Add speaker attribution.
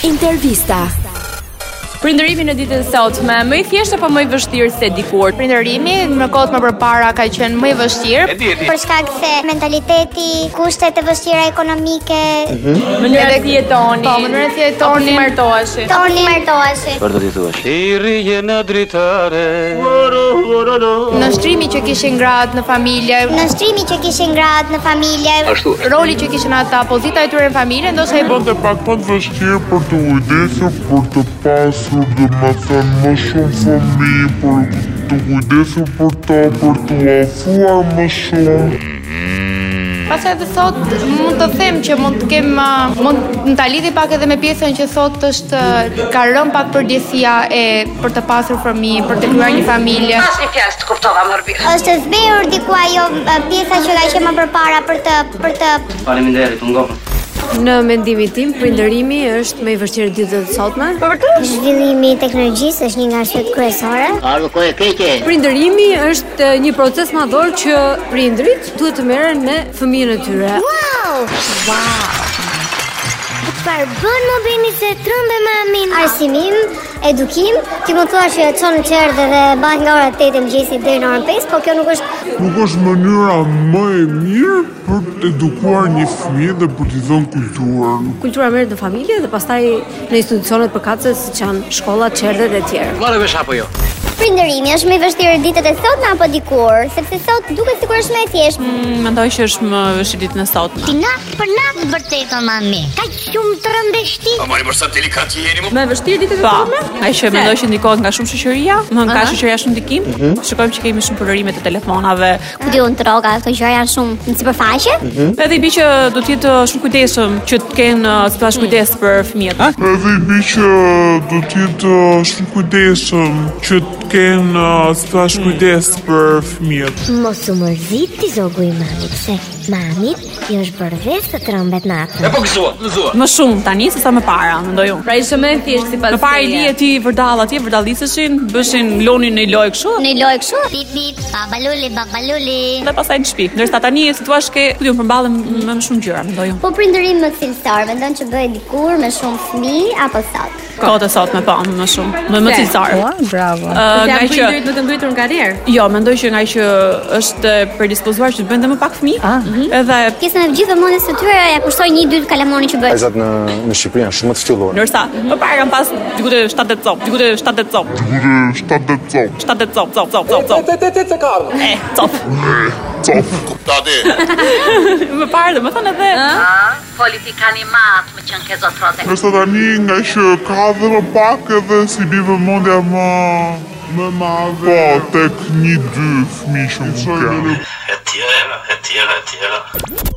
Speaker 1: Intervista.
Speaker 2: Prindërimi në ditën e sotme, më i thjeshtë apo më i vështirë se dikur?
Speaker 3: Prindërimi në kohët më përpara ka qenë më i vështirë.
Speaker 4: Për shkak se mentaliteti, kushtet e vështira ekonomike,
Speaker 2: Mënyra se jetoni.
Speaker 3: Po, mënyra se jetoni.
Speaker 2: Si martoheshi.
Speaker 4: toni martoheshi.
Speaker 5: Për do t'i thuash.
Speaker 3: Në shtrimi që kishin gratë në familje,
Speaker 4: Nështrimi që kishin gratë në familje,
Speaker 3: roli që kishin ata, pozita e tyre në familje, ndoshta i bën
Speaker 6: Dhe pak më të vështirë për të kujdesur, për të pasur, dhe me thënë më shumë fëmijë, për të kujdesur për ta, për të ofruar më shumë.
Speaker 3: Pastaj edhe sot mund të them që mund të kem uh, mund të ta lidhi pak edhe me pjesën që sot është uh, ka rënë pak përgjegjësia e për të pasur fëmijë, për të krijuar një familje.
Speaker 7: Asnjë fjalë të kuptova më mirë.
Speaker 4: është zbehur diku ajo e, pjesa që ka qenë më përpara për të për të
Speaker 5: Faleminderit, u ngopën.
Speaker 8: Në mendimin tim, prindërimi është më i vështirë ditën e sotme. Po
Speaker 4: zhvillimi i teknologjisë është një nga arsyet kryesore.
Speaker 8: Prindërimi është eh, një proces madhor që prindrit duhet të merren me fëmijën e tyre.
Speaker 4: Wow! Wow! Çfarë bën më bëni se trëmbe me amin? Arsimim, edukim, ti më thua që çon në çerdhe dhe bëhet nga ora 8 e mëngjesit deri në orën 5, po kjo nuk është
Speaker 6: Nuk është mënyra më e mirë për të edukuar një fëmijë dhe për t'i dhënë kulturën.
Speaker 8: Kultura merret në familje dhe pastaj në institucionet përkatëse siç janë shkolla, çerdhet e tjerë.
Speaker 5: Marrë vesh apo jo?
Speaker 4: Prindërimi është më i vështirë ditët e sotme apo dikur, sepse sot duket sikur është më e thjeshtë.
Speaker 2: Mendoj që është më vështirë ditën e sotme.
Speaker 4: Ti na për na të vërtetën mami. Ka shumë trëmbeshti.
Speaker 5: Marrë më sa delikat jeni më.
Speaker 2: Më vështirë ditën e sotme? Po, Ai që mendoj që ndikohet nga shumë shoqëria, më ka shoqëria shumë ndikim. Shikojmë që kemi shumë përrime të telefonave.
Speaker 4: Ku diun troga, këto gjëra janë shumë në sipërfaqe.
Speaker 2: Edhe i bi që do të jetë uh, shumë kujdesshëm që të kenë uh, splash kujdes për fëmijët.
Speaker 6: Edhe i bi që do t'jetë uh, shumë kujdesshëm që të kenë uh, spash kujdes për fëmijët.
Speaker 4: Mos u mërzit ti zogu i mamit, se mamit i është bërë vesë të trëmbet natën.
Speaker 5: E po gëzua, gëzua.
Speaker 2: Më shumë tani se sa më para, mendoj unë.
Speaker 8: Pra ishte më e thjeshtë sipas
Speaker 2: Në parë i lije ti vërdall atje, vërdalliseshin, bëshin lonin në loj kështu,
Speaker 4: Në lojë kështu? Bip bip, babaluli, babaluli.
Speaker 2: dhe pastaj në shtëpi. Ndërsa tani si thua ke, ku diun përmballen me më shumë gjëra, mendoj unë.
Speaker 4: Po prindërim më cilësor, mendon që bëhet dikur me shumë fëmijë apo sot?
Speaker 2: Kohët e sot me pa më shumë, më më cilësore.
Speaker 8: bravo.
Speaker 2: Ë, nga që
Speaker 8: më të ngritur nga herë.
Speaker 2: Jo, mendoj që nga që është e predispozuar që të bëjnë dhe më pak fëmijë. Mhm. Edhe
Speaker 4: Pjesën e gjithë vëmendjes së tyre ja kushtoj një dy kalamoni që bëhet.
Speaker 9: Vajzat në në Shqipëri janë shumë të ftyllur.
Speaker 2: ndërsa më parë kam pas diku te 7 cop, diku te 7 cop,
Speaker 6: Dhe 7 dhe copë.
Speaker 2: 7 cop, cop, cop, cop, cop. Te te te karma. E, cop. Më parë, domethënë edhe
Speaker 7: Politikani matë më qënë ke zotrote.
Speaker 6: Nëse tani nga që ka dhe më pak edhe si bi vëmendja më më madhe. Po, tek një dy fëmijë shumë të kanë.
Speaker 5: Etjera, etjera, etjera.